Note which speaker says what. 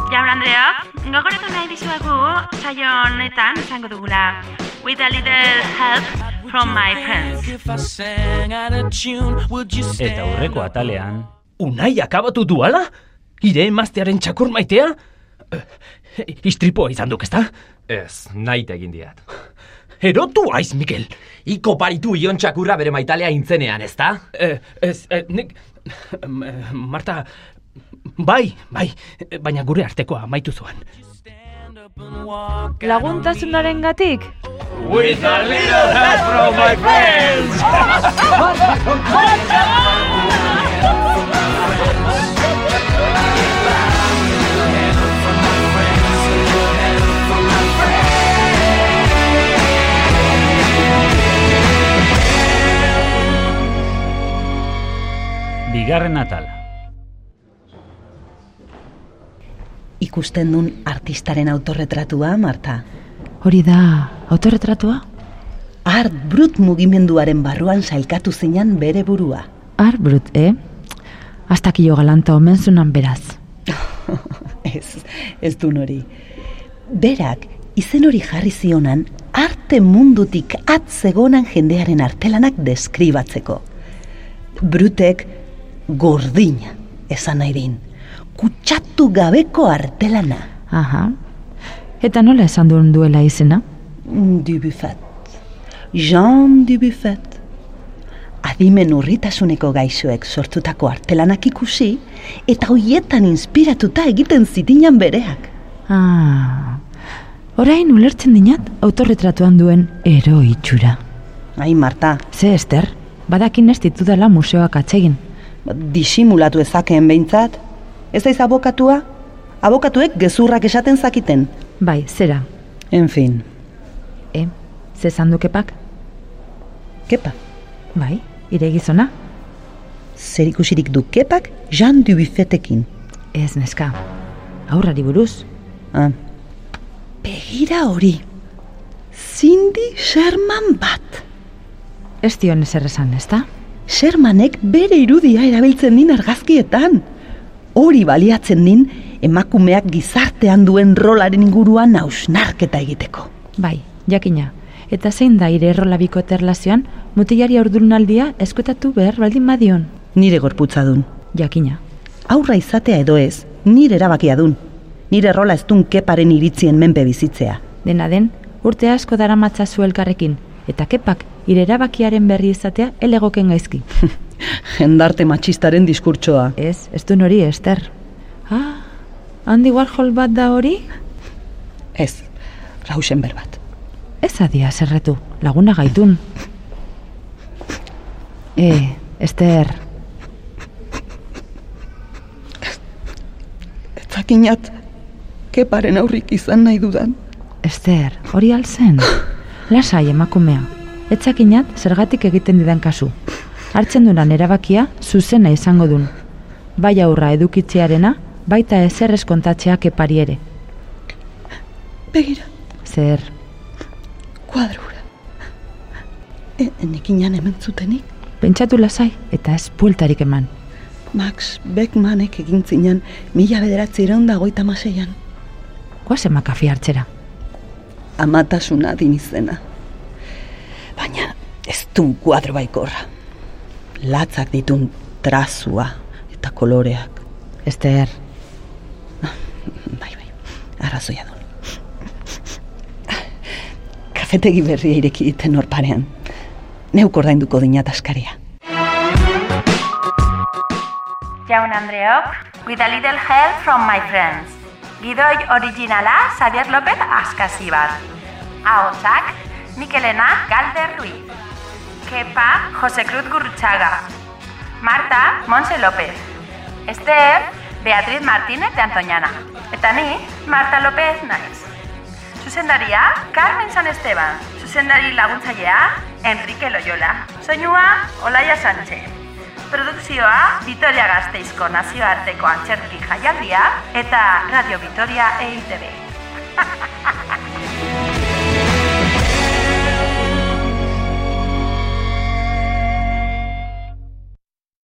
Speaker 1: entzulea, gogoratu nahi dizuagu saio honetan izango dugula With a little help from my friends.
Speaker 2: Eta aurreko atalean,
Speaker 3: Unai akabatu duala? Ire emaztearen txakur maitea? Eh, Istripoa izan duk, ezta?
Speaker 4: Ez, nahi egin diat.
Speaker 3: Erotu aiz, Mikel!
Speaker 4: Iko paritu ion txakurra bere maitalea intzenean, ezta?
Speaker 3: Eh, ez, eh, nik... em, eh, Marta... Bai, bai, eh, baina gure artekoa amaitu zuan.
Speaker 5: Laguntasunaren gatik?
Speaker 2: bigarren atala.
Speaker 6: Ikusten dun artistaren autorretratua, Marta.
Speaker 5: Hori da, autorretratua?
Speaker 6: Art brut mugimenduaren barruan sailkatu zinan bere burua.
Speaker 5: Arbrut, eh? Aztakilo galanta omen zunan beraz.
Speaker 6: ez, ez dun hori. Berak, izen hori jarri zionan, arte mundutik atzegonan jendearen artelanak deskribatzeko. Brutek gordina, esan nahi din. Kutsatu gabeko artelana.
Speaker 5: Aha. Eta nola esan duen duela izena?
Speaker 6: Dubuffet. Jean Dubuffet. Adimen urritasuneko gaixoek sortutako artelanak ikusi eta hoietan inspiratuta egiten zitinan bereak.
Speaker 5: Ah. Orain ulertzen dinat autorretratuan duen ero itxura.
Speaker 6: Ai, Marta,
Speaker 5: Ze, Ester, badakin ez ditudala museoak atsegin.
Speaker 6: disimulatu ezakeen behintzat. Ez daiz abokatua? Abokatuek gezurrak esaten zakiten.
Speaker 5: Bai, zera,
Speaker 6: En fin,
Speaker 5: eh? Ze sandukepak?
Speaker 6: kepa.
Speaker 5: Bai, ire gizona?
Speaker 6: Zer ikusirik du kepak Jean Dubuffetekin.
Speaker 5: Ez, neska. Aurrari buruz.
Speaker 6: Ah. Begira hori. Cindy Sherman bat.
Speaker 5: Ez dion ezer esan, ez da?
Speaker 6: Shermanek bere irudia erabiltzen din argazkietan. Hori baliatzen din emakumeak gizartean duen rolaren inguruan hausnarketa egiteko.
Speaker 5: Bai, jakina. Eta zein da ire errolabiko terlazioan mutilari aurdunaldia eskutatu behar baldin badion.
Speaker 6: Nire gorputza dun.
Speaker 5: Jakina.
Speaker 6: Aurra izatea edo ez, nire erabakia dun. Nire rola ez dun keparen iritzien menpe bizitzea.
Speaker 5: Dena den, urte asko daramatza zu elkarrekin, eta kepak ire erabakiaren berri izatea elegoken gaizki.
Speaker 6: Jendarte matxistaren diskurtsoa.
Speaker 5: ez, ez du nori, Ester. Ah, handi Warhol bat da hori?
Speaker 6: Ez, Rauschenberg bat.
Speaker 5: Ez adia zerretu, laguna gaitun. e, Ester,
Speaker 6: Zakinat, keparen aurrik izan nahi dudan.
Speaker 5: Ester, hori alzen. Lasai emakumea. Etzakinat zergatik egiten didan kasu. Hartzen dunan erabakia zuzena izango dun. Bai aurra edukitzearena, baita ezer eskontatzea kepari ere.
Speaker 6: Begira,
Speaker 5: Zer,
Speaker 6: kuadrura. E, nekinan hemen zutenik,
Speaker 5: pentsatu lasai eta ez bueltarik eman.
Speaker 6: Max Beckmanek egin zinan mila bederatzi da goita maseian.
Speaker 5: Guaz emakafi hartzera.
Speaker 6: Amatasuna din izena. Baina ez du kuadro baikorra. Latzak ditun trazua eta koloreak.
Speaker 5: Ester,
Speaker 6: Bai, bai, arrazoia du. Kafetegi berria ireki diten hor parean. Neuk ordainduko dinat askaria.
Speaker 1: Jaun Andreok, with a little help from my friends. Gidoi originala Xavier López Askazibar. Ahotsak, Mikelena Galder Ruiz. Kepa Jose Cruz Gurrutxaga. Marta Monse López. Esther Beatriz Martínez de Antoñana. Eta ni Marta López Naiz. Zuzendaria, Carmen San Esteban. Zuzendari laguntzailea, Enrique Loyola. Soinua, Olaia Sánchez. Produkzioa, Vitoria Gasteizko E nazioarteko antzerki jaialdia eta Radio Vitoria EITB.